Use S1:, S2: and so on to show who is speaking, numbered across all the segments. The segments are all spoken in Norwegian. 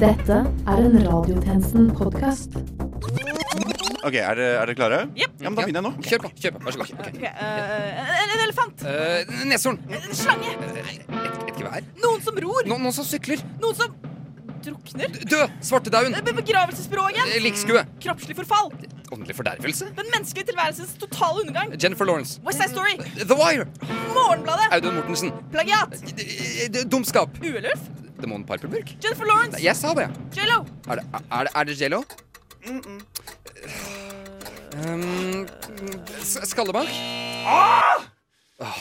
S1: Dette er en Radiotjenesten-podkast.
S2: Ok, Er dere er dere klare?
S3: Jep.
S2: Ja, men Da begynner jeg nå.
S4: Kjør på. kjør på, Vær så god. Ok.
S3: Ok, eh, en, en elefant!
S4: Eh, neshorn.
S3: En slange!
S4: Eh, Et, et gevær.
S3: Noen som ror!
S4: No, noen som sykler.
S3: Noen som drukner!
S4: Død! Svartedauden.
S3: Eh, be- Begravelsesbråket!
S4: Eh, Likskue.
S3: Kroppslig forfall!
S4: Åndelig fordervelse.
S3: Den menneskelige tilværelsens totale undergang!
S4: Jennifer Lawrence.
S3: West Side Story!
S4: The Wire.
S3: Morgenbladet!
S4: Audun Mortensen.
S3: Plagiat!
S4: D- d- Eh, Dumskap.
S3: Ueløff!
S4: Demon Piperburg.
S3: Jennifer Lawrence!
S4: Jeg sa det.
S3: J.Lo!
S4: Er det, er det, er det Jello? Um, s- skallebank.
S5: Ah!
S4: Åh.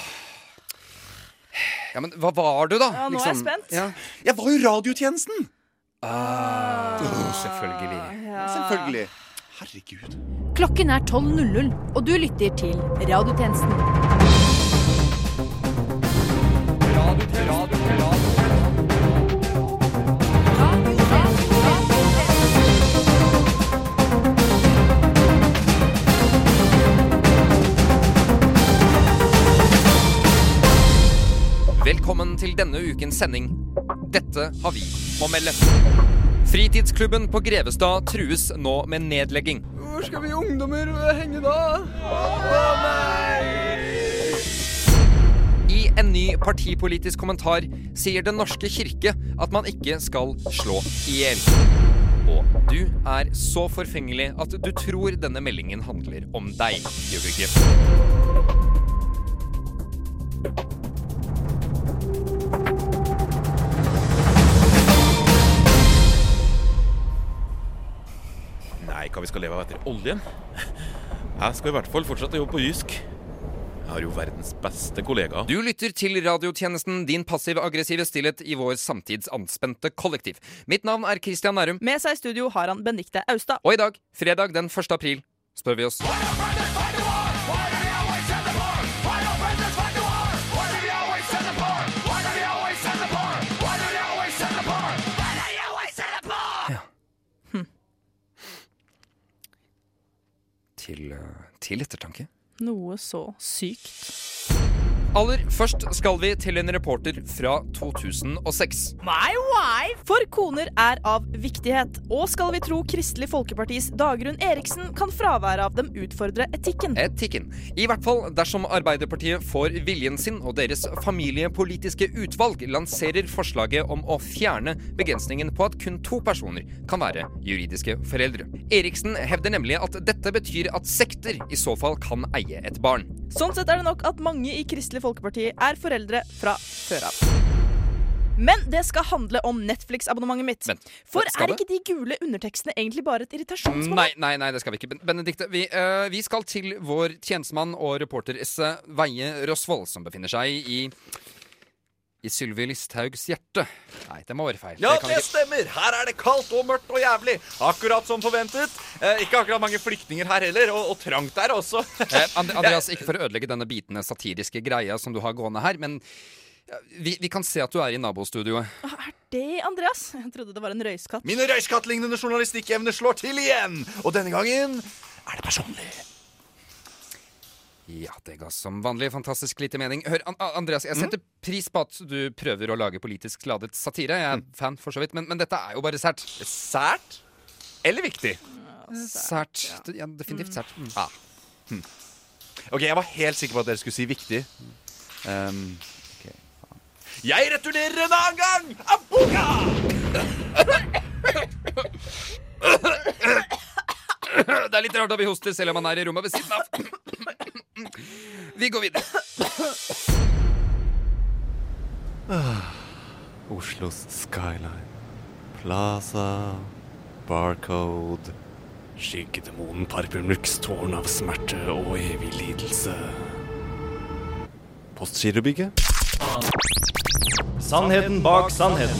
S4: Ja, men hva var du, da? Liksom,
S3: Ja, nå er jeg spent.
S4: Ja.
S2: Jeg var jo Radiotjenesten!
S4: Ah, selvfølgelig.
S2: Selvfølgelig. Herregud.
S6: Klokken er 12.00, og du lytter til Radiotjenesten.
S4: Velkommen til denne ukens sending. Dette har vi å melde. Fritidsklubben på Grevestad trues nå med nedlegging.
S3: Hvor skal vi ungdommer henge da?
S4: I en ny partipolitisk kommentar sier Den norske kirke at man ikke skal slå i hjel. Og du er så forfengelig at du tror denne meldingen handler om deg, Jørgen.
S7: Nei, hva vi skal leve av etter oljen? Jeg skal i hvert fall fortsette å jobbe på Jysk. Jeg har jo verdens beste kollega.
S4: Du lytter til radiotjenesten Din passiv-aggressive stillhet i vår samtids anspente kollektiv. Mitt navn er Christian Nærum,
S3: Med seg i studio har han Benedicte Austad.
S4: og i dag, fredag den 1. april, spør vi oss til, eh, til ettertanke.
S3: Noe så sykt.
S4: Aller først skal vi til en reporter fra 2006.
S3: My wife! For koner er av viktighet, og skal vi tro Kristelig Folkepartis Dagrun Eriksen, kan fraværet av dem utfordre etikken.
S4: Etikken. I hvert fall dersom Arbeiderpartiet får viljen sin og deres familiepolitiske utvalg lanserer forslaget om å fjerne begrensningen på at kun to personer kan være juridiske foreldre. Eriksen hevder nemlig at dette betyr at sekter i så fall kan eie et barn.
S3: Sånn sett er det nok at mange i Kristelig Folkeparti er foreldre fra før av. Men det skal handle om Netflix-abonnementet mitt.
S4: Vent,
S3: For
S4: skal
S3: er ikke de gule undertekstene egentlig bare et
S4: Nei,
S3: irritasjonsmoment?
S4: Mm, nei, nei, det skal vi ikke. Ben- Benedikte, vi, eh, vi skal til vår tjenestemann og reporter Esse Veie Rosvold, som befinner seg i i Sylvi Listhaugs hjerte. Nei, det må være feil.
S5: Ja,
S4: Det kan
S5: det
S4: ikke-
S5: stemmer. Her er det kaldt og mørkt og jævlig. Akkurat som forventet. Eh, ikke akkurat mange flyktninger her heller, og, og trangt der også.
S4: Eh, And- Andreas, ikke for å ødelegge denne bitende satiriske greia som du har gående her, men ja, vi, vi kan se at du er i nabostudioet.
S3: Er det Andreas? Jeg trodde det var en røyskatt.
S5: Mine røyskattlignende journalistikkevner slår til igjen. Og denne gangen er det personlig.
S4: Ja, det ga som vanlig fantastisk lite mening. Hør, An A- Andreas, jeg setter pris på at du prøver å lage politisk ladet satire. Jeg er fan, for så vidt, men, men dette er jo bare sært.
S5: Mm. Sært eller viktig?
S4: Sært. Det- Ja, definitivt sært. Mm.
S5: Ah. Hm. Ok, jeg var helt sikker på at dere skulle si viktig. Um, ok, faen. Jeg returnerer en annen gang! Abuka!
S4: Det er litt rart at vi hoster selv om man er i rommet ved siden av. Vi går videre.
S8: Oslos skyline. Plaza. Barcode. Skyggedemonen Parpurmurks tårn av smerte og evig lidelse. Postgirobygget.
S9: Sannheten bak sannheten.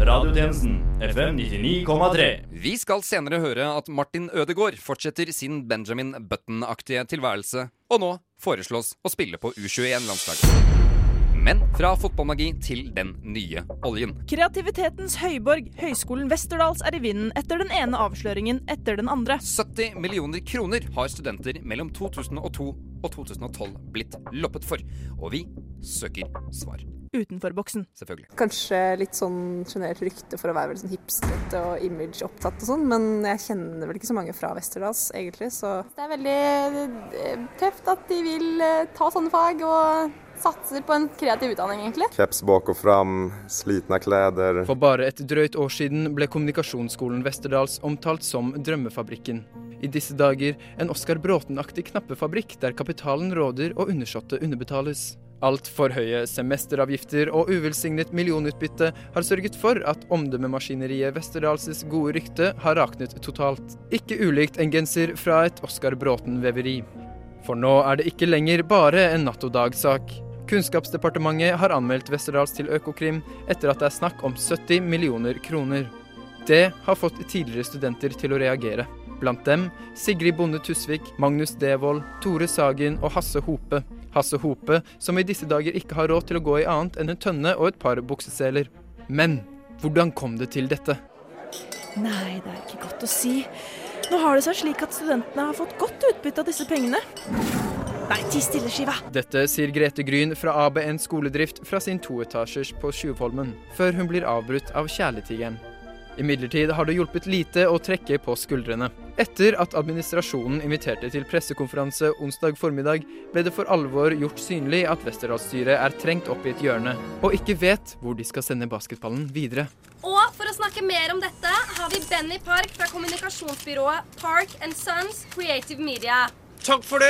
S9: Radiotjenesten FM 99,3.
S4: Vi skal senere høre at Martin Ødegaard fortsetter sin Benjamin Button-aktige tilværelse, og nå foreslås å spille på U21-landslaget. Men fra fotballmagi til den nye oljen.
S3: Kreativitetens høyborg, Høgskolen Westerdals, er i vinden etter den ene avsløringen etter den andre.
S4: 70 millioner kroner har studenter mellom 2002 og 2012 blitt loppet for, og vi søker svar.
S3: utenfor boksen.
S4: Selvfølgelig.
S10: Kanskje litt sånn generelt rykte for å være veldig sånn hipstrete og image-opptatt og sånn, men jeg kjenner vel ikke så mange fra Westerdals, egentlig, så Det er veldig eh, tøft at de vil eh, ta sånne fag og satser på en kreativ utdanning, egentlig.
S11: Keps bak och fram, slitna kläder.
S12: For bare et drøyt år siden ble Kommunikasjonsskolen Westerdals omtalt som drømmefabrikken. I disse dager en Oskar Bråten-aktig knappefabrikk der kapitalen råder og undersåtte underbetales. Altfor høye semesteravgifter og uvelsignet millionutbytte har sørget for at omdømmemaskineriet Westerdals' gode rykte har raknet totalt. Ikke ulikt en genser fra et Oskar Bråten-veveri. For nå er det ikke lenger bare en natt og dag-sak. Kunnskapsdepartementet har anmeldt Westerdals til Økokrim etter at det er snakk om 70 millioner kroner. Det har fått tidligere studenter til å reagere. Blant dem Sigrid Bonde Tusvik, Magnus Devold, Tore Sagen og Hasse Hope. Hasse Hope, som i disse dager ikke har råd til å gå i annet enn en tønne og et par bukseseler. Men hvordan kom det til dette?
S3: Nei, det er ikke godt å si. Nå har det seg slik at studentene har fått godt utbytte av disse pengene. Nei, ti stille, Skiva.
S12: Dette sier Grete Gryn fra ABN skoledrift fra sin toetasjers på Tjuvholmen, før hun blir avbrutt av kjæletigeren. Imidlertid har det hjulpet lite å trekke på skuldrene. Etter at administrasjonen inviterte til pressekonferanse onsdag formiddag, ble det for alvor gjort synlig at Westerdalsstyret er trengt opp i et hjørne, og ikke vet hvor de skal sende basketballen videre.
S13: Og for å snakke mer om dette har vi Benny Park fra kommunikasjonsbyrået Park and Sons Creative Media.
S14: Takk for det.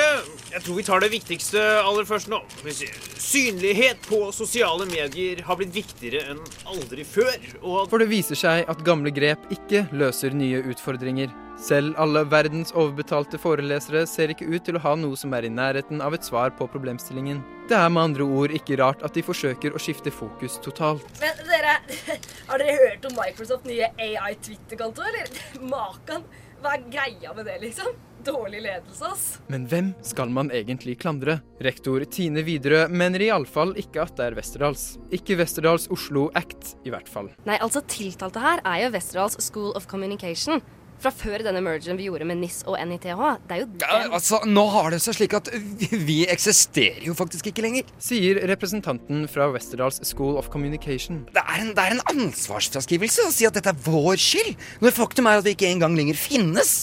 S14: Jeg tror vi tar det viktigste aller først nå. Skal vi se. Synlighet på sosiale medier har blitt viktigere enn aldri før. Og
S12: For det viser seg at gamle grep ikke løser nye utfordringer. Selv alle verdens overbetalte forelesere ser ikke ut til å ha noe som er i nærheten av et svar på problemstillingen. Det er med andre ord ikke rart at de forsøker å skifte fokus totalt.
S15: Men dere, har dere hørt om Microsoft nye AI Twitter-konto, eller? Makan, hva er greia med det, liksom? Dårlig ledelse, ass.
S12: Men hvem skal man egentlig klandre? Rektor Tine Widerøe mener iallfall ikke at det er Westerdals. Ikke Westerdals Oslo Act, i hvert fall.
S16: Nei, altså tiltalte her er jo Westerdals School of Communication. Fra før denne mergen vi gjorde med NIS og NITH. Det er jo
S4: Ja, altså, nå har det seg slik at vi, vi eksisterer jo faktisk ikke lenger.
S12: Sier representanten fra Westerdals School of Communication.
S4: Det er en, det er en ansvarsfraskrivelse å si at dette er vår skyld, når faktum er at vi ikke engang lenger finnes.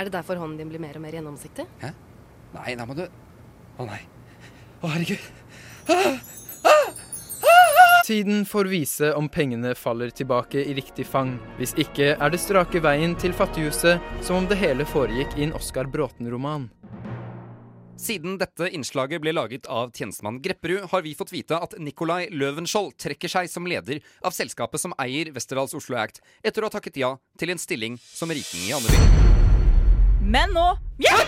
S16: Er det derfor hånden din blir mer og mer gjennomsiktig?
S4: Hæ? Nei, da må du Å nei. Å, herregud. Ah, ah.
S12: Tiden får vise om pengene faller tilbake i riktig fang. Hvis ikke er det strake veien til fattighuset, som om det hele foregikk i en Oskar Bråten-roman.
S4: Siden dette innslaget ble laget av tjenestemann Grepperud, har vi fått vite at Nikolai Løvenskiold trekker seg som leder av selskapet som eier Westerdals Oslo Act, etter å ha takket ja til en stilling som riking i Andeby.
S3: Men nå ja!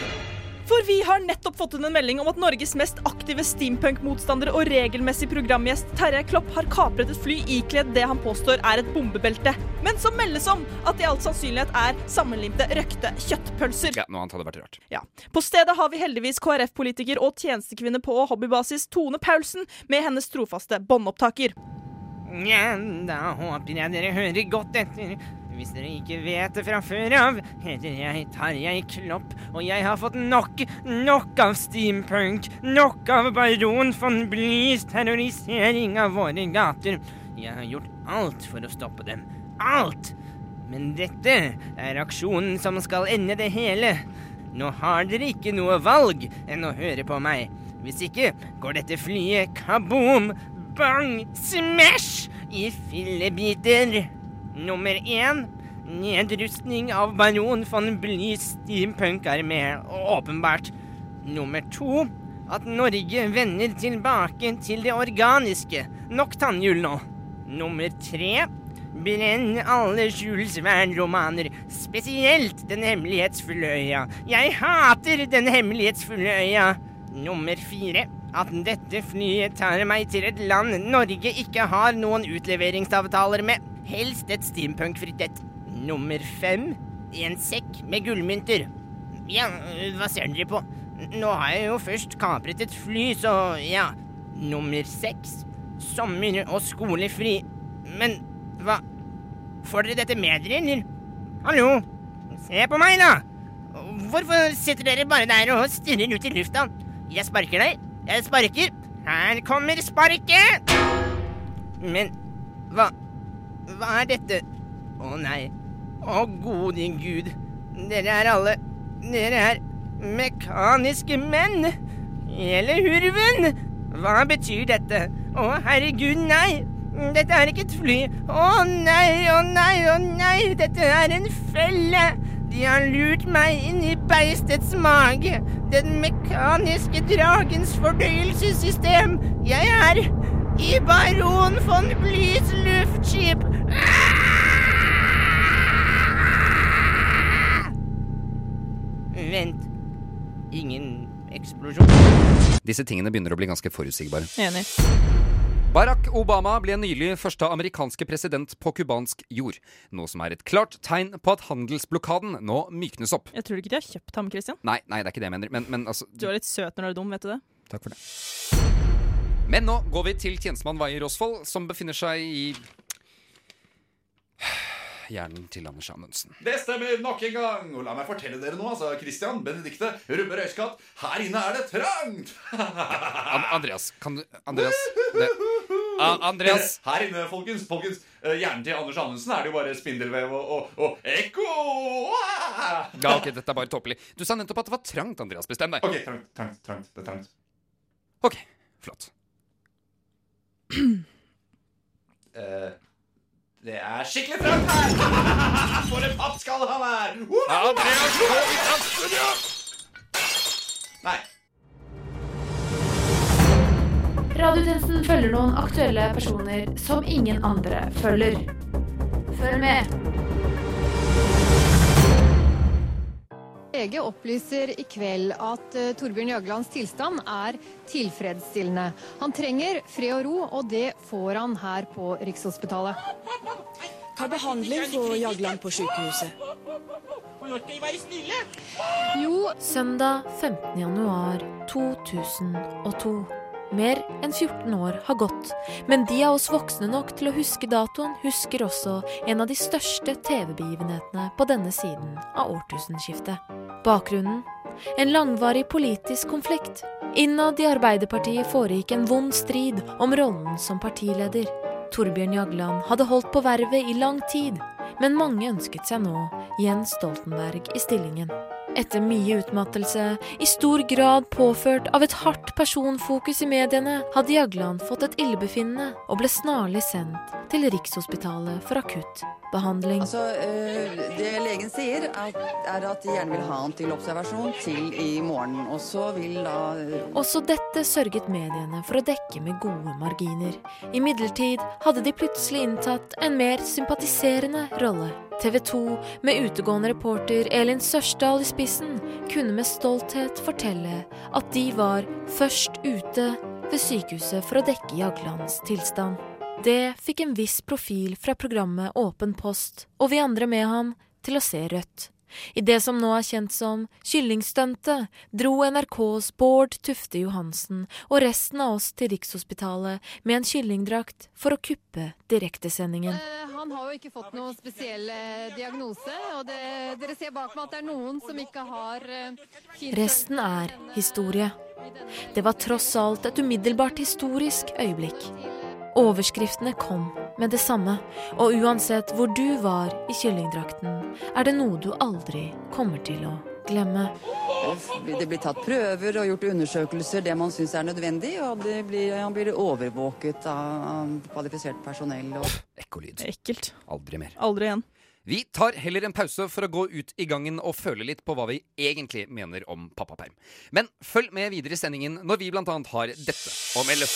S3: For vi har nettopp fått inn en melding om at Norges mest aktive steampunk-motstander og regelmessig programgjest Terje Klopp har kapret et fly ikledd det han påstår er et bombebelte, men som meldes om at det i all sannsynlighet er sammenlimte røkte kjøttpølser.
S4: Ja, noe annet hadde vært rart.
S3: Ja. På stedet har vi heldigvis KrF-politiker og tjenestekvinne på hobbybasis Tone Paulsen med hennes trofaste båndopptaker.
S17: Nja, da håper jeg dere hører godt etter. Hvis dere ikke vet det fra før av, heter jeg Tarjei Klopp, og jeg har fått nok, nok av steampunk, nok av baron von Blies terrorisering av våre gater. Jeg har gjort alt for å stoppe dem. Alt! Men dette er aksjonen som skal ende det hele. Nå har dere ikke noe valg enn å høre på meg. Hvis ikke går dette flyet kaboom, bang, smash i fillebiter. Nummer én nedrustning av baron von Blys steampunk-armé, åpenbart. Nummer to at Norge vender tilbake til det organiske. Nok tannhjul nå. Nummer tre Brenn alle Jules Verne-romaner, spesielt Den hemmelighetsfulle øya. Jeg hater Den hemmelighetsfulle øya. Nummer fire at dette flyet tar meg til et land Norge ikke har noen utleveringsavtaler med. Helst et steampunkfritt et. Nummer fem en sekk med gullmynter. Ja, hva ser dere på? Nå har jeg jo først kapret et fly, så ja. Nummer seks sommer- og skolefri. Men hva Får dere dette med dere, eller? Hallo? Se på meg, da! Hvorfor sitter dere bare der og stirrer ut i lufta? Jeg sparker deg. Jeg sparker. Her kommer sparket! Men hva Hva er dette? Å nei. Å gode gud. Dere er alle Dere er mekaniske menn. Hele hurven. Hva betyr dette? Å herregud, nei. Dette er ikke et fly. Å nei, å nei, å nei. Dette er en felle. De har lurt meg inn i beistets mage. Den mekaniske dragens fordøyelsessystem. Jeg er i baron von Blys luftskip. Ah! Vent. Ingen eksplosjon.
S4: Disse tingene begynner å bli ganske forutsigbare.
S3: Enig.
S4: Barack Obama ble nylig første amerikanske president på cubansk jord. Noe som er et klart tegn på at handelsblokaden nå myknes opp.
S3: Jeg tror ikke de har kjøpt ham, Christian.
S4: Nei, nei, det er ikke det jeg mener. Men, men altså
S3: Du er litt søt når du er dum, vet du det?
S4: Takk for det. Men nå går vi til tjenestemann Vaier Rosvold, som befinner seg i hjernen til Anders Anundsen.
S5: Det stemmer nok en gang. Og la meg fortelle dere nå, altså. Christian, Benedikte, Rubbe Røyskatt. Her inne er det trangt!
S4: An Andreas, kan du Andreas det, A Andreas!
S5: Her inne, folkens. folkens eh, Hjernen til Anders Anundsen er det jo bare spindelvev og, og, og ekko.
S4: Ja, ok, dette er bare tåpelig. Du sa nettopp at det var trangt, Andreas. Bestem deg.
S5: Ok, trangt, trangt, trangt. Det er trangt.
S4: Ok, flott.
S5: Eh, det er skikkelig trangt her! For en pappskall han er! Andreas, gå i tastudio! Nei.
S1: Radiotjenesten følger noen aktuelle personer som ingen andre følger. Følg med.
S18: VG opplyser i kveld at eh, Torbjørn Jaglands tilstand er tilfredsstillende. Han trenger fred og ro, og det får han her på Rikshospitalet.
S19: Hva behandling får Jagland på sykehuset?
S1: Søndag 15. januar 2002. Mer enn 14 år har gått, men de av oss voksne nok til å huske datoen, husker også en av de største TV-begivenhetene på denne siden av årtusenskiftet. Bakgrunnen? En langvarig politisk konflikt. Innad i Arbeiderpartiet foregikk en vond strid om rollen som partileder. Torbjørn Jagland hadde holdt på vervet i lang tid, men mange ønsket seg nå Jens Stoltenberg i stillingen. Etter mye utmattelse, i stor grad påført av et hardt personfokus i mediene, hadde Jagland fått et illebefinnende og ble snarlig sendt til Rikshospitalet for akutt behandling.
S20: Altså, eh, det legen sier, er, er at de gjerne vil ha han til observasjon til i morgen. Og så vil da eh,
S1: Også dette sørget mediene for å dekke med gode marginer. Imidlertid hadde de plutselig inntatt en mer sympatiserende rolle. TV 2, med utegående reporter Elin Sørsdal i spissen, kunne med stolthet fortelle at de var først ute ved sykehuset for å dekke Jaglands tilstand. Det fikk en viss profil fra programmet Åpen post, og vi andre med ham, til å se rødt. I det som nå er kjent som kyllingstuntet, dro NRKs Bård Tufte Johansen og resten av oss til Rikshospitalet med en kyllingdrakt for å kuppe direktesendingen.
S18: Eh, Han har jo ikke fått noen spesiell eh, diagnose, og det, dere ser bak meg at det er noen som ikke har eh, hint-
S1: Resten er historie. Det var tross alt et umiddelbart historisk øyeblikk. Overskriftene kom med det samme, og uansett hvor du var i kyllingdrakten, er det noe du aldri kommer til å glemme.
S20: Det blir tatt prøver og gjort undersøkelser, det man syns er nødvendig. Og det blir, han blir overvåket av, av kvalifisert personell. Og...
S4: Ekkolyd.
S3: Ekkelt.
S4: Aldri mer.
S3: Aldri igjen.
S4: Vi tar heller en pause for å gå ut i gangen og føle litt på hva vi egentlig mener om pappaperm. Men følg med videre i sendingen når vi bl.a. har dette å melde.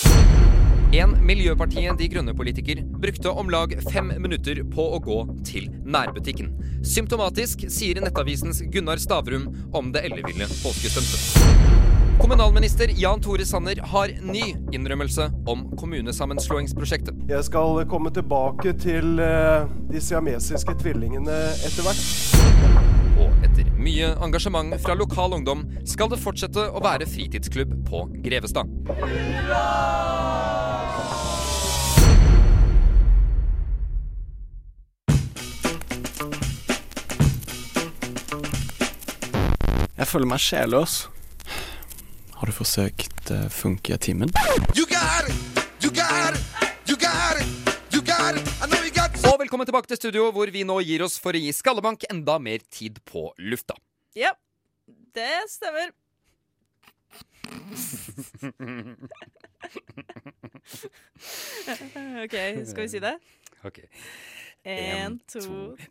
S4: En Miljøpartiet De Grønne-politiker brukte om lag fem minutter på å gå til nærbutikken. Symptomatisk, sier Nettavisens Gunnar Stavrum om det elleville påskestuntet. Kommunalminister Jan Tore Sanner har ny innrømmelse om kommunesammenslåingsprosjektet.
S21: Jeg skal komme tilbake til eh, de siamesiske tvillingene etter hvert.
S4: Og etter mye engasjement fra lokal ungdom skal det fortsette å være fritidsklubb på Grevestad.
S22: Jeg føler meg sjelløs.
S8: Har du forsøkt
S2: dette
S23: eh,
S2: funker i timen.
S4: You got it! You got it! You got it! You got it! I know you got it! Og velkommen tilbake til studio, hvor vi nå gir oss for å gi Skallebank enda mer tid på lufta.
S3: Ja, det stemmer. OK, skal vi si det?
S4: Ok.
S3: Én, to,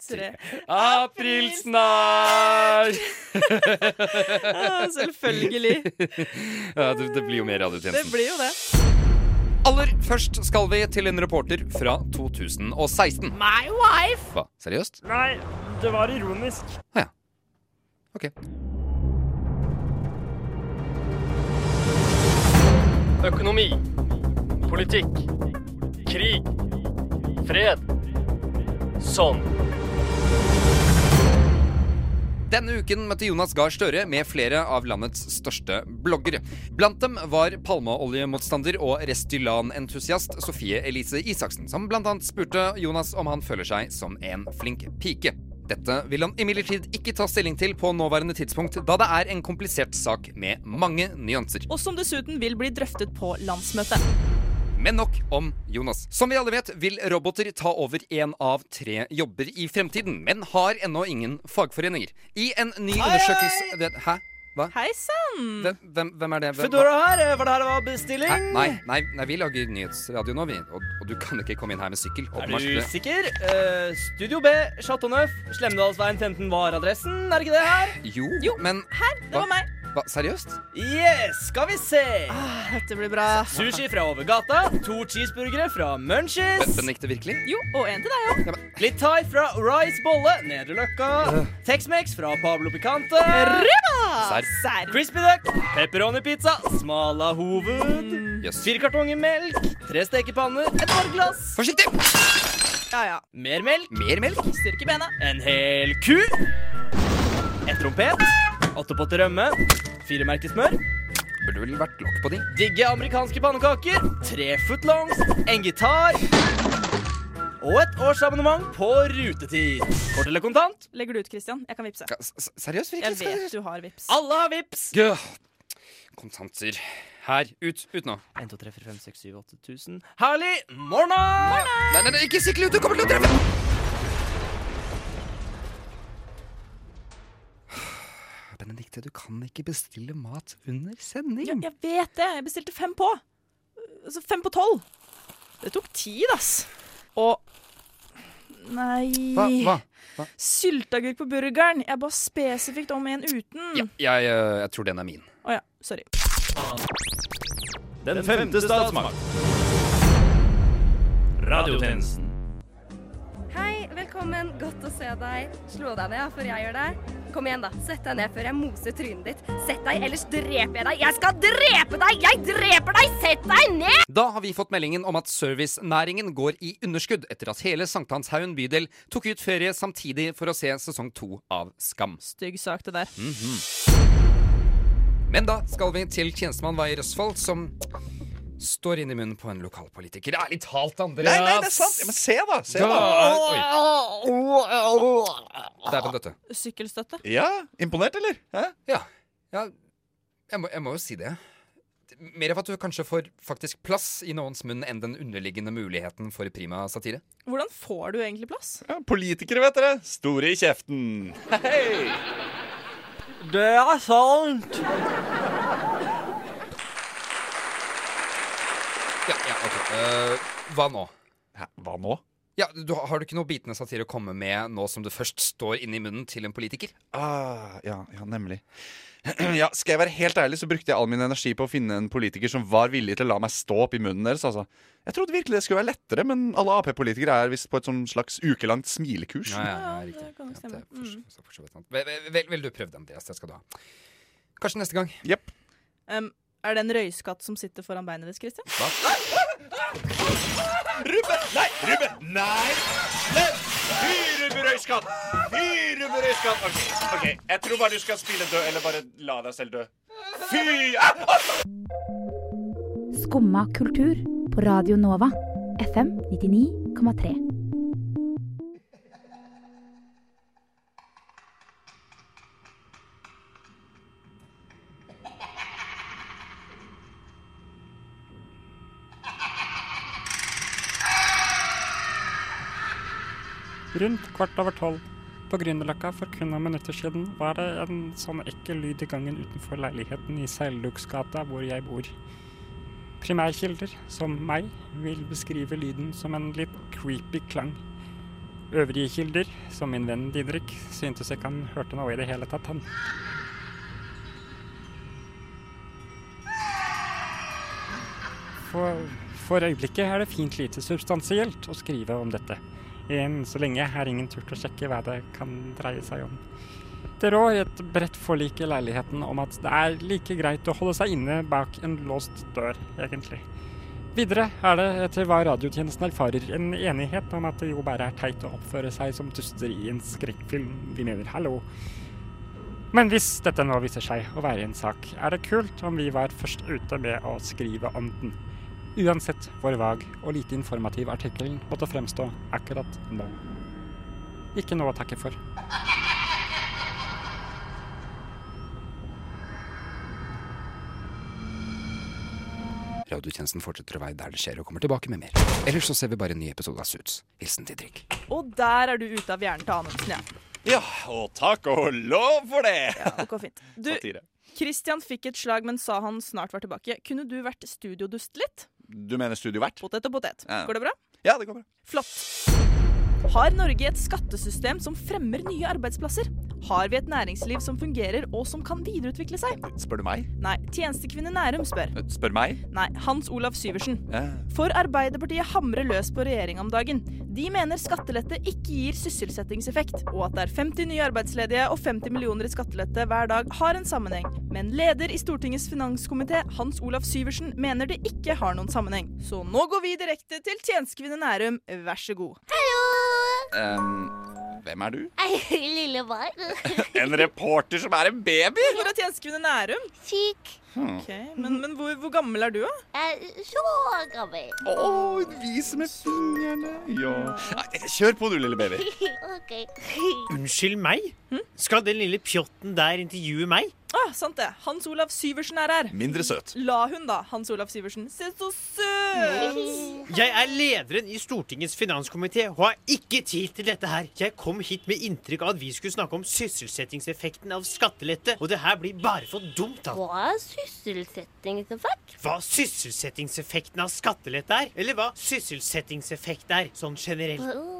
S3: tre.
S4: Aprilsnarr!
S3: Ah, selvfølgelig.
S4: ja, det, det blir jo mer radiotjenesten.
S3: Det blir jo det.
S4: Aller først skal vi til en reporter fra 2016.
S22: My wife!
S4: Hva, seriøst?
S22: Nei, det var ironisk.
S9: Økonomi. Politikk. Krig. Fred. Sånn.
S4: Denne uken møtte Jonas Gahr Støre med flere av landets største bloggere. Blant dem var palmeoljemotstander og Restylan-entusiast Sofie Elise Isaksen, som blant annet spurte Jonas om han føler seg som en flink pike. Dette vil han imidlertid ikke ta stilling til på nåværende tidspunkt, da det er en komplisert sak med mange nyanser.
S3: Og som dessuten vil bli drøftet på landsmøtet.
S4: Men nok om Jonas. Som vi alle vet, vil roboter ta over én av tre jobber i fremtiden, men har ennå ingen fagforeninger. I en ny undersøkelse det, Hæ? Hva?
S3: Hei sann!
S4: Hvem, hvem, hvem er det? Hvem,
S23: Fedora her, var det her det var bestilling?
S4: Hæ? Nei, nei, nei, vi lager nyhetsradio nå, vi. Og, og du kan ikke komme inn her med sykkel.
S23: Er
S4: Åpenbart.
S23: du sikker? Eh, Studio B, Chateau Neuf, Slemdalsveien 15 var adressen, er det ikke det her?
S4: Jo, men
S23: Her,
S4: det var meg. Hva, seriøst?
S23: Yes, skal vi se.
S3: Ah, dette blir bra.
S23: Sushi fra over gata, to cheeseburgere fra Munchies.
S4: Men gikk det virkelig?
S3: Jo, og en til deg òg.
S23: Litt thai fra Rice Bolle, Nedre Løkka. Tex-Mex fra Pablo Picante.
S3: Rema!
S23: Serr. Crispy duck, pepperoni-pizza, smala hoved.
S4: Mm.
S23: Fire kartonger melk, tre stekepanner, et par glass.
S4: Forsiktig!
S3: Ja, ja.
S23: Mer melk.
S4: Mer melk.
S3: Styrke bena.
S23: En hel ku. Et trompet. Åtte potter rømme. Fire merker smør.
S4: Burde vel vært lokk på de.
S23: Digge amerikanske pannekaker. Tre footlongs. En gitar. Og et årsabonnement på rutetid. Kort eller kontant?
S3: Legger du ut, Christian? Jeg kan vippse.
S4: Seriøst,
S3: Jeg vet du har vips.
S23: Alle har vips!
S4: Ja. Kontanter. Her. Ut. Ut nå.
S23: 1, 2, 3, 4, 5, 6, 7, 8 000. Herlig! Morna!
S4: Nei, nei, nei, ikke sikle ut! Du kommer til å treffe! Benedikte, du kan ikke bestille mat under sending.
S3: Ja, jeg vet det. Jeg bestilte fem på. Altså fem på tolv. Det tok tid, ass. Og Nei.
S4: Hva? Hva? Hva?
S3: Sylteagurk på burgeren. Jeg ba spesifikt om en uten. Å ja.
S4: Jeg, eh, jeg tror den er min.
S3: Sorry.
S9: Den femte statsmakt. Radiotjenesten.
S13: Hei, velkommen. Godt å se deg. Slå deg ned ja, før jeg gjør det. Kom igjen, da. Sett deg ned før jeg moser trynet ditt. Sett deg, ellers dreper jeg deg. Jeg skal drepe deg! Jeg dreper deg! Sett deg ned!
S4: Da har vi fått meldingen om at servicenæringen går i underskudd etter at hele Sankthanshaugen bydel tok ut ferie samtidig for å se sesong to av Skam. Mhm.
S3: Stygg sak, det der.
S4: Men da skal vi til tjenestemann Veier Østfold, som står inn i munnen på en lokalpolitiker. Ærlig talt, Andreas!
S5: Nei, nei, det er sant. Ja, men se da, se da.
S4: Det er på dette.
S3: Sykkelstøtte.
S5: Ja, imponert, eller? Hæ?
S4: Ja. ja jeg, må, jeg må jo si det. Mer av at du kanskje får faktisk plass i noens munn enn den underliggende muligheten for prima satire.
S3: Hvordan får du egentlig plass?
S5: Politikere, vet dere. Store i kjeften. Hei!
S23: Det er sant.
S4: Ja, ja, ok. Eh, hva nå?
S5: hva nå?
S4: Ja, du, Har du ikke noe bitende satire å komme med nå som det først står inni munnen til en politiker?
S5: Ah, ja, ja, nemlig. Ja, skal jeg være helt ærlig, så brukte jeg all min energi på å finne en politiker som var villig til å la meg stå opp i munnen deres. altså. Jeg trodde virkelig det skulle være lettere, men alle Ap-politikere er visst på et sånn slags ukelangt smilekurs.
S4: Ja, ja, ja, riktig.
S3: kan Mm.
S4: Ja, det er altså for, så- for så vidt sant. Vel, vel, vel, vel, du prøvde den, det skal du ha. Kanskje neste gang.
S5: Jepp.
S3: Um, er det en røyskatt som sitter foran beinet ditt, Christian?
S5: Ruben! Nei! Ruben! Nei! Slem! Fyruberøyskatt! Fyruberøyskatt! OK, ok, jeg tror bare du skal spille død, eller bare la deg selv dø. Fy! ah,
S24: Skumma kultur på Radio Nova. FM 99,3.
S2: Rundt kvart over tolv. På Grünerløkka for kun noen minutter siden var det en sånn ekkel lyd i gangen utenfor leiligheten i Seilduksgata hvor jeg bor. Primærkilder, som meg, vil beskrive lyden som en litt creepy klang. Øvrige kilder, som min venn Didrik, syntes ikke han hørte noe i det hele tatt, han. For, for øyeblikket er det fint lite substansielt å skrive om dette. Enn så lenge har ingen turt å sjekke hva det kan dreie seg om. Det rår et bredt forlik i leiligheten om at det er like greit å holde seg inne bak en låst dør, egentlig. Videre er det, etter hva radiotjenesten erfarer, en enighet om at det jo bare er teit å oppføre seg som duster i en skrekkfilm. Vi mener hallo. Men hvis dette nå viser seg å være en sak, er det kult om vi var først ute med å skrive om den. Uansett hvor vag og lite informativ artikkelen måtte fremstå akkurat nå. Ikke noe å takke for.
S4: Radiotjenesten fortsetter å være der det skjer, og kommer tilbake med mer. Ellers så ser vi bare en ny episode av Suits. Hilsen Didrik.
S3: Og der er du ute av hjernen til Anundsen, ja.
S5: Ja, og takk og lov for det!
S3: ok, fint. Du,
S5: Satire.
S3: Christian fikk et slag, men sa han snart var tilbake. Kunne du vært studiodust litt?
S5: Du mener studiovert?
S3: Potet og potet.
S5: Ja.
S3: Går det bra?
S5: Ja, det går bra.
S3: Flott. Har Norge et skattesystem som fremmer nye arbeidsplasser? Har vi et næringsliv som fungerer og som kan videreutvikle seg?
S5: Spør du meg?
S3: Nei, tjenestekvinne Nærum spør.
S5: Spør meg?
S3: Nei, Hans Olav Syversen.
S5: Ja.
S3: For Arbeiderpartiet hamrer løs på regjeringa om dagen. De mener skattelette ikke gir sysselsettingseffekt, og at det er 50 nye arbeidsledige og 50 millioner i skattelette hver dag har en sammenheng. Men leder i Stortingets finanskomité, Hans Olav Syversen, mener det ikke har noen sammenheng. Så nå går vi direkte til tjenestekvinne Nærum, vær så god.
S5: Ehm, hvem er du?
S6: Lille barn.
S5: En reporter som er en baby?
S3: Hvor er tjenestekvinne Nærum?
S6: Syk.
S5: Hmm.
S3: Ok, Men, men hvor, hvor gammel er du, da?
S6: Jeg er Eh, så gammel.
S5: Å, hun viser med fingrene. Ja. Nei, Kjør på du, lille baby.
S6: OK.
S14: Unnskyld meg? Skal den lille pjotten der intervjue meg?
S3: Ah, sant det. Hans Olav Syversen er her.
S14: Mindre søt.
S3: La hun, da, Hans Olav Syversen. Se så søt!
S14: Jeg er lederen i Stortingets finanskomité og har ikke tid til dette her. Jeg kom hit med inntrykk av at vi skulle snakke om sysselsettingseffekten av skattelette, og det her blir bare for dumt. Altså.
S6: Hva er sysselsettingseffekt?
S14: Hva sysselsettingseffekten av skattelette er, eller hva sysselsettingseffekt er, sånn generelt.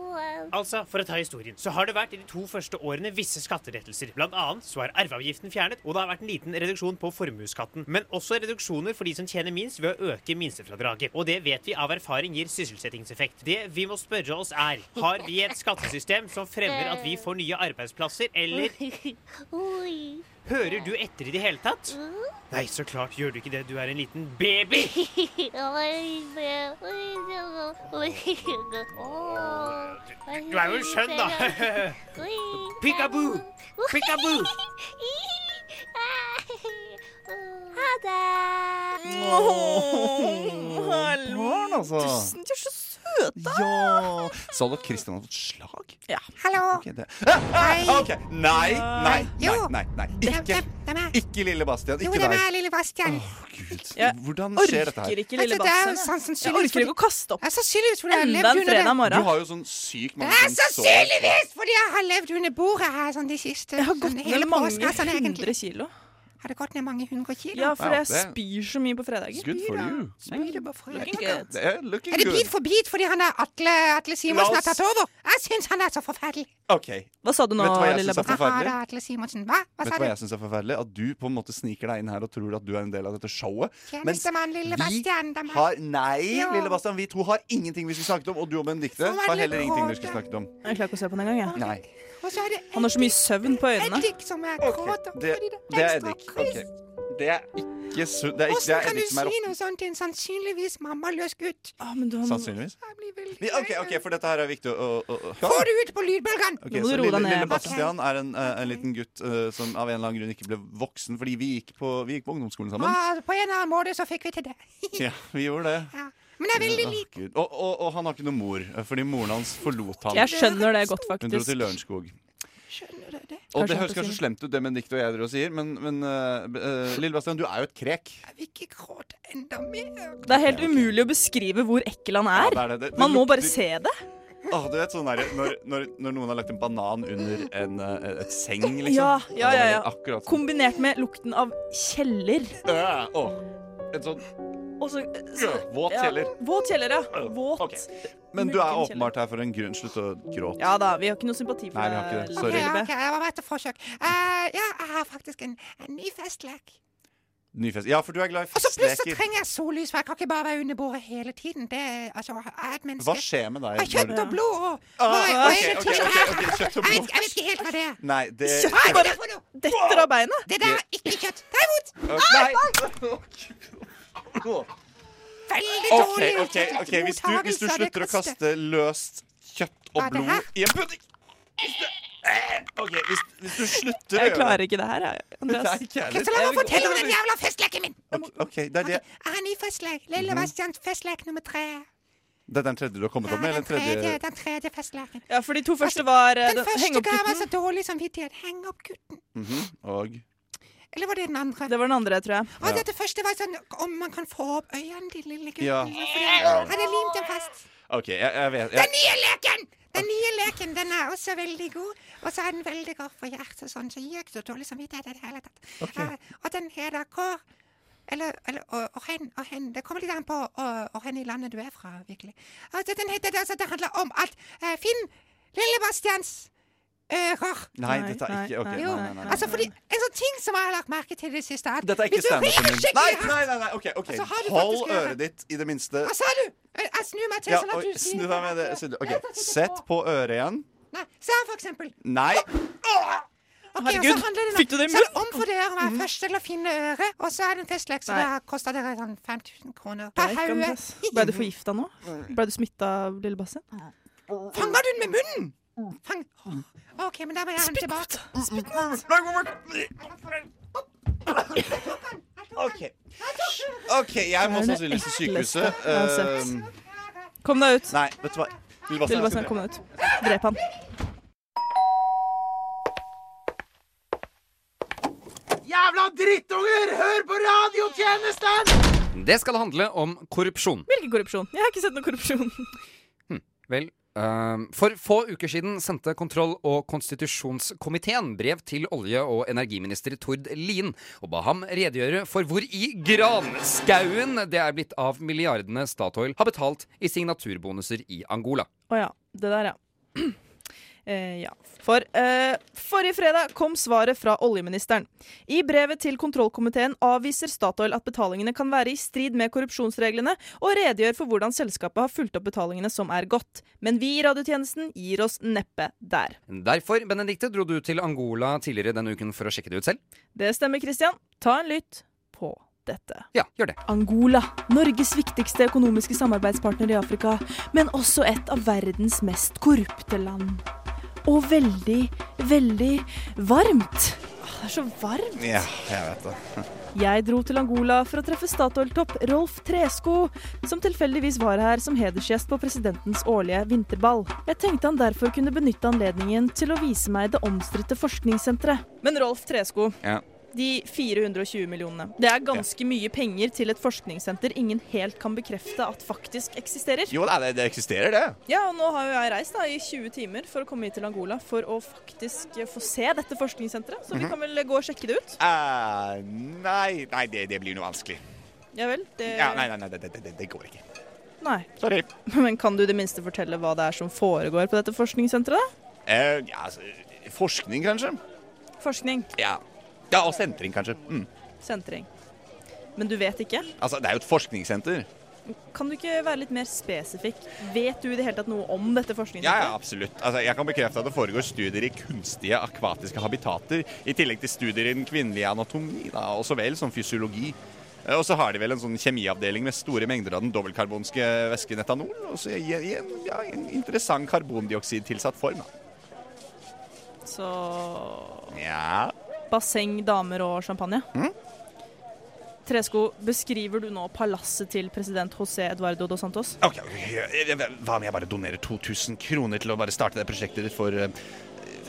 S14: Altså, For å ta historien, så har det vært i de to første årene visse skatterettelser. Blant annet så er arveavgiften fjernet, og det har vært en liten reduksjon på formuesskatten. Men også reduksjoner for de som tjener minst, ved å øke minstefradraget. Og det vet vi av erfaring gir sysselsettingseffekt. Det vi må spørre oss er, har vi et skattesystem som fremmer at vi får nye arbeidsplasser, eller
S6: Oi.
S14: hører du etter i det hele tatt? Nei, så klart gjør du ikke det. Du er en liten baby!
S6: Du
S14: Du er jo en skjønn, da. Peekaboo! Peekaboo!
S6: Ha det.
S3: Åh, Hallo.
S5: Barn, altså.
S3: Tusen, de er så søte!
S5: Ja. Så du at Christian hadde fått slag?
S3: Ja.
S6: Hallo.
S5: Ok, det. Ah, ah, ok. Nei, nei, nei, nei, nei. Ikke, ikke lille Bastian. Ikke deg.
S7: lille Bastian.
S5: Hvordan skjer dette her?
S7: Altså, det er jo sånn sannsynligvis fordi-
S3: kaste opp.
S7: Det er sannsynligvis fordi jeg har levd under det.
S5: Du har jo sånn syk
S7: Det
S5: mange
S7: er
S5: sånn
S7: sannsynligvis fordi jeg har levd under bordet her sånn altså, de siste Jeg har
S3: gått ned mange hundre kilo.
S7: Har det gått ned mange hundre kilo?
S3: Ja, for
S7: det
S3: jeg spyr så mye på fredager.
S7: Good for you.
S3: Looking good.
S5: Det er looking
S7: Er det
S5: good.
S7: bit for bit fordi han er Atle, Atle Simonsen
S5: La
S7: har
S5: oss-
S7: tatt over? Jeg syns han er så forferdelig.
S5: Ok.
S3: Hva sa du nå,
S5: Vet du hva jeg
S3: lille
S5: syns er
S7: Aha, det
S5: forferdelig?
S7: er Atle Simonsen. Hva? Hva
S5: Vet du
S7: sa
S5: hva jeg
S7: du?
S5: synes er forferdelig? At du på en måte sniker deg inn her og tror at du er en del av dette showet. mens
S7: Tjenestemann, lille
S5: vi
S7: Bastian. dem er-
S5: har Nei,
S7: Jo. Sånn
S5: lille Bastian, vi to har ingenting vi skulle snakket om. Og du og Benedicte
S7: Forferdelig
S5: har heller ingenting dere
S7: kåte.
S5: skulle snakket om.
S3: Jeg klarer ikke å se på den engang. jeg.
S5: Nei.
S7: Og så er det
S3: Han har så mye søvn på øynene.
S7: Eddik som er kåt. og
S5: Det,
S7: fordi
S5: det er
S7: ekstra
S5: eddik.
S7: kryss.
S5: Ok. Det er ikke sunt. Det er ikke det
S7: Åssen
S5: er
S7: kan du
S5: eddik som er
S7: si
S5: rått.
S7: noe sånt til en sannsynligvis mammaløs gutt?
S3: Ah,
S5: Sannsynligvis. Vi- Ok, ok, for dette her er viktig å, å, å.
S7: Få det ut på lydbølgen!
S5: Ok, så lille, lille Bastian er en, eh, en liten gutt eh, som av en eller annen grunn ikke ble voksen, fordi vi gikk på, vi gikk på ungdomsskolen sammen.
S7: Ah, på en eller annen måte så fikk vi til det.
S5: Ja, vi gjorde det.
S7: Ja. Men det er veldig
S5: Åh,
S7: lik.
S5: Gud. og, og, og han har ikke noe mor, eh, fordi moren hans forlot ham.
S3: Jeg skjønner det godt,
S5: Hun dro
S3: faktisk.
S5: til Lørenskog.
S7: Skjønner du det?
S5: Og
S7: Kanskje
S5: det høres
S7: han får
S5: kanskje
S7: si-
S5: slemt ut, det Benedicte og jeg driver og sier, men, men eh, b- eh, Lille Bastian, du er jo et krek.
S7: Ikke gråt enda mer.
S3: Det er helt umulig å beskrive hvor ekkel han
S5: Ja, det er
S3: er.
S5: det. Det- det
S3: Man må
S5: lukter-
S3: bare se det.
S5: Åh, du vet sånn der, når, når, når noen har lagt en banan under en, eh, et seng, liksom.
S3: Ja, ja, ja, ja.
S5: Akkurat sånn.
S3: Kombinert med lukten av kjeller.
S5: Øh, åh, en sånn
S3: Og så,
S5: øh, våt kjeller.
S3: Ja, våt kjeller, ja. Våt.
S5: Men du er
S3: Mørken kjeller.
S5: åpenbart her for en grunn. Slutt å gråte.
S3: Ja da, vi har ikke noe sympati for
S5: Nei, vi har ikke det.
S3: eh,
S5: Sorry.
S3: lille
S7: Ja,
S3: Bæ.
S7: ok, det var bare et forsøk. Eh, ja, jeg har faktisk en, en ny festlek.
S5: Ny fest. Ja, for du er glad i
S7: Og så plutselig
S5: festleker.
S7: trenger jeg sollys, for jeg kan ikke bare være under bordet hele tiden. Det, er- altså, jeg er et menneske.
S5: Hva skjer med deg?
S7: Av kjøtt og blod og
S5: Ah,
S7: Nei, og
S5: ok,
S7: jeg-
S5: ok, ok, ok, kjøtt og
S7: Jeg
S5: blod.
S7: vet, jeg vet ikke helt hva det er.
S5: Nei, det
S7: Nei, hva er det for noe?
S3: Detter av beinet.
S7: Det der er ikke kjøtt. Det er Ah, vondt!
S5: Ok,
S7: Veldig
S5: OK,
S7: dårlig
S5: OK, ok, hvis du, hvis du
S7: mottakelse av det
S5: slutter å
S7: kastet.
S5: kaste løst kjøtt og
S7: Hva er det her?
S5: blod i en pudding Hvis du- Eh, OK, hvis, hvis du slutter å
S3: Jeg
S5: gjøre
S3: klarer ikke det her, jeg, Andreas.
S5: Nei, ikke jeg heller.
S7: Så la meg fortelle om den jævla festleken min.
S5: OK, det er det.
S7: Jeg har en ny festlek. Lille
S5: Mhm.
S7: Bastians festlek nummer tre.
S5: Det er den tredje du har kommet opp med? Eller den
S7: Tredje,
S5: tredje?
S7: den tredje festleken.
S3: Ja, for de to første var eh,
S7: Altså, Den
S3: den-
S7: første
S3: heng opp
S7: ga meg så
S3: gutten.
S7: dårlig samvittighet. Heng opp gutten.
S5: Mhm, Og
S7: Eller var det den andre?
S3: Det var den andre, tror jeg.
S7: Og
S5: Ja.
S7: dette første var sånn om man kan få opp øynene til lille gutten.
S5: Ja.
S7: Fordi
S5: Ja.
S7: han hadde limt dem fast.
S5: OK, jeg, jeg vet
S7: Den
S5: jeg,
S7: nye leken! Den nye leken, den er også veldig god. Og så er den veldig god for hjertet, sånn, så gir jeg ikke så dårlig samvittighet i det hele tatt. Eh, og den heter Kår. Eller, eller og, og hen, og hen. Det kommer litt an på og, og hen i landet du er fra, virkelig. Altså, den heter, altså, det handler om at eh, Finn Lille Bastians ører.
S5: Nei, dette er ikke OK.
S7: Jo,
S5: Nei, nei, nei, nei.
S7: altså fordi En sånn ting som jeg har lagt merke til i det siste, er at
S5: Dette er ikke
S7: hvis du rir
S5: standupen min.
S7: skikkelig
S5: Nei,
S7: hardt-
S5: nei, nei, nei, OK. ok.
S7: Altså, har du
S5: Hold
S7: faktisk øret?
S5: øret ditt i det minste
S7: Hva sa du? Eh, Jeg snur meg til,
S5: Ja,
S7: sånn at
S5: oi,
S7: du
S5: snu
S7: sier
S5: deg med det. snu deg. OK, sett på øret igjen.
S7: Nei, se her, for eksempel.
S5: Nei.
S7: Ok, og så
S3: Herregud,
S7: handler det nå-
S3: fikk du det i
S7: så er
S3: munnen? Mhm.
S7: omfordeler meg først til å finne øret, og så er det en festlek, så
S3: Nei.
S7: det koster dere sånn 5000 kroner per
S3: Nei, ikke
S7: hauge.
S3: Andreas. Ble du forgifta nå? Ble du smitta av lille Bastian?
S7: Fanga du den med munnen? Fang. OK, men da må jeg ha den tilbake. Spytt
S5: OK. OK, jeg må
S3: Det er det
S5: sannsynligvis til
S3: ekleste
S5: sykehuset.
S3: jeg har sett.
S5: Ehm,
S3: Kom deg ut.
S5: Nei, vet du hva. Lille
S3: Lille
S5: Bastian,
S3: Bastian, kom deg ut. Drep han.
S10: Jævla drittunger! Hør på radiotjenesten!
S4: Det skal handle om korrupsjon.
S3: Hvilken korrupsjon? Jeg har ikke sett noe korrupsjon.
S4: Vel, ehm, for få uker siden sendte kontroll- og konstitusjonskomiteen brev til olje- og energiminister Tord Lien og ba ham redegjøre for hvor i granskauen det er blitt av milliardene Statoil har betalt i signaturbonusser i Angola.
S3: Å ja. Det der, ja. Eh, ja. For eh, forrige fredag kom svaret fra oljeministeren. I brevet til kontrollkomiteen avviser Statoil at betalingene kan være i strid med korrupsjonsreglene, og redegjør for hvordan selskapet har fulgt opp betalingene som er gått. Men vi i radiotjenesten gir oss neppe der.
S4: Derfor, Benedikte, dro du til Angola tidligere denne uken for å sjekke det ut selv.
S3: Det stemmer, Christian. Ta en lytt på dette.
S4: Ja, gjør det.
S3: Angola, Norges viktigste økonomiske samarbeidspartner i Afrika, men også et av verdens mest korrupte land. Og veldig, veldig varmt. Åh, Ah, Det er så varmt.
S5: Ja, jeg vet det.
S3: Jeg dro til Angola for å treffe Statoil-topp Rolf Tresko, som tilfeldigvis var her som hedersgjest på presidentens årlige vinterball. Jeg tenkte han derfor kunne benytte anledningen til å vise meg det omstridte forskningssenteret. Men Rolf Tresko,
S5: Ja.
S3: de 420 millionene. Det er ganske mye penger til et forskningssenter ingen helt kan bekrefte at faktisk eksisterer.
S5: Jo, nei, det, det eksisterer, det.
S3: Ja, og nå har jo jeg reist da, i 20 timer for å komme hit til Angola for å faktisk eh, få se dette forskningssenteret. Så vi
S5: Mhm.
S3: kan vel gå og sjekke det ut?
S5: Eh, nei, nei det, det blir noe vanskelig.
S3: Ja vel? Det...
S5: Ja, nei, nei, nei det, det, det- det går ikke.
S3: Nei.
S5: Sorry.
S3: Men kan du i det minste fortelle hva det er som foregår på dette forskningssenteret? da?
S5: Eh, ja, altså, forskning, kanskje?
S3: Forskning.
S5: Ja. ja og sentring, kanskje. Mm.
S3: Sentring. Men du vet ikke?
S5: Altså, det er jo et forskningssenter.
S3: Kan du ikke være litt mer spesifikk? Vet du i det hele tatt noe om dette
S5: Ja, ja,
S3: forskningssenteret?
S5: absolutt. Altså, jeg kan bekrefte at det foregår studier i kunstige akvatiske habitater, i tillegg til studier i den kvinnelige anatomi, da, og så vel som fysiologi. Eh, Og så har de vel en sånn kjemiavdeling med store mengder av den dobbeltkarbonske væsken etanol, og så i, i en, ja, i en interessant karbondioksidtilsatt form. Da.
S3: Så
S5: Ja.
S3: basseng, damer og champagne?
S4: Mm.
S5: Mhm.
S3: Tresko, beskriver du nå palasset til president José Eduardo dos Santos?
S5: Ok, ok, ok. Hva om jeg bare donerer 2000 kroner til å bare starte det prosjektet ditt for eh,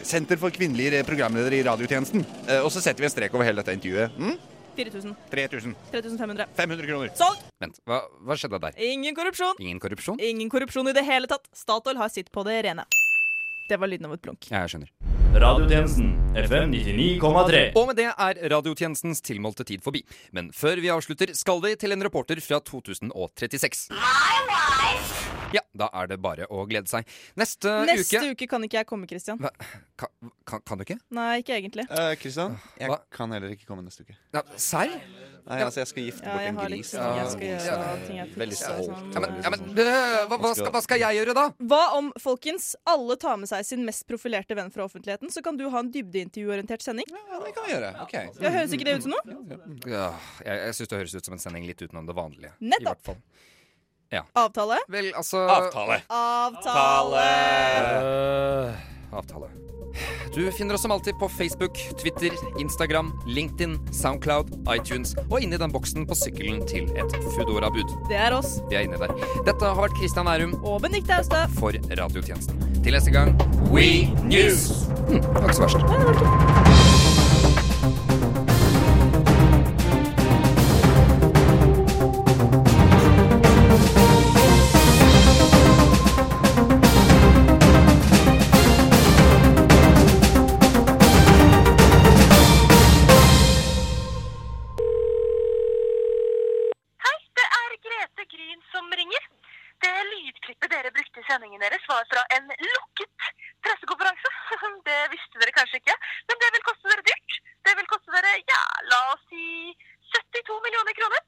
S5: Senter for kvinnelige programledere i radiotjenesten? Eh, Og så setter vi en strek over hele dette intervjuet. Mm?
S3: 4000.
S5: 3000.
S3: 3500.
S5: 500 kroner.
S3: Solgt!
S4: Vent, hva, hva skjedde der?
S3: Ingen korrupsjon.
S4: Ingen korrupsjon?
S3: Ingen korrupsjon i det hele tatt. Statoil har sitt på det rene. Det var lyden av et blunk.
S4: Ja, jeg skjønner.
S9: Radiotjenesten FM 99,3.
S4: Og med det er radiotjenestens tilmålte tid forbi. Men før vi avslutter, skal vi til en reporter fra 2036. Ja, da er det bare å glede seg. Neste,
S3: Neste
S4: Eh, uke
S3: uke. kan ikke jeg komme, Christian.
S4: Hva? Kan, kan, kan du ikke?
S3: Nei, ikke egentlig.
S4: Eh,
S5: Kristian, Eh, jeg kan heller ikke komme neste uke.
S4: Ja, Serr?
S5: Nei, altså, jeg skal gifte
S3: Ja,
S5: bort
S3: jeg
S5: en
S3: har
S5: gris.
S3: liksom- jeg skal gjøre ting jeg fikser
S5: Veldig
S3: og
S5: stolt. liksom.
S3: sånn.
S4: Ja, men, ja, men øh, hva, hva, skal, hva skal jeg gjøre, da?
S3: Hva om, folkens, alle tar med seg sin mest profilerte venn fra offentligheten, så kan du ha en dybdeintervjuorientert sending?
S5: Ja, det kan vi gjøre. Ok.
S3: Ja, høres ikke det ut som noe?
S4: Ja, jeg jeg syns det høres ut som en sending litt utenom det vanlige.
S3: Nettopp.
S4: I hvert fall. Ja.
S3: Avtale?
S4: Vel, altså Avtale.
S3: Avtale!
S4: Eh, Avtale. Du finner oss som alltid på Facebook, Twitter, Instagram, LinkedIn, Soundcloud, iTunes og inni den boksen på sykkelen til et Foodora-bud.
S3: Det er oss.
S4: Vi er inne der. Dette har vært Kristian Nærum
S3: Og Benedicte Austad.
S4: for Radiotjenesten. Til neste gang We News! Hm, det var ikke så verst.
S11: Det er Grete Gryn som ringer. Det lydklippet dere brukte i sendingen deres, var fra en lukket pressekonferanse. Det visste dere kanskje ikke, men det vil koste dere dyrt. Det vil koste dere, ja, la oss si 72 millioner kroner.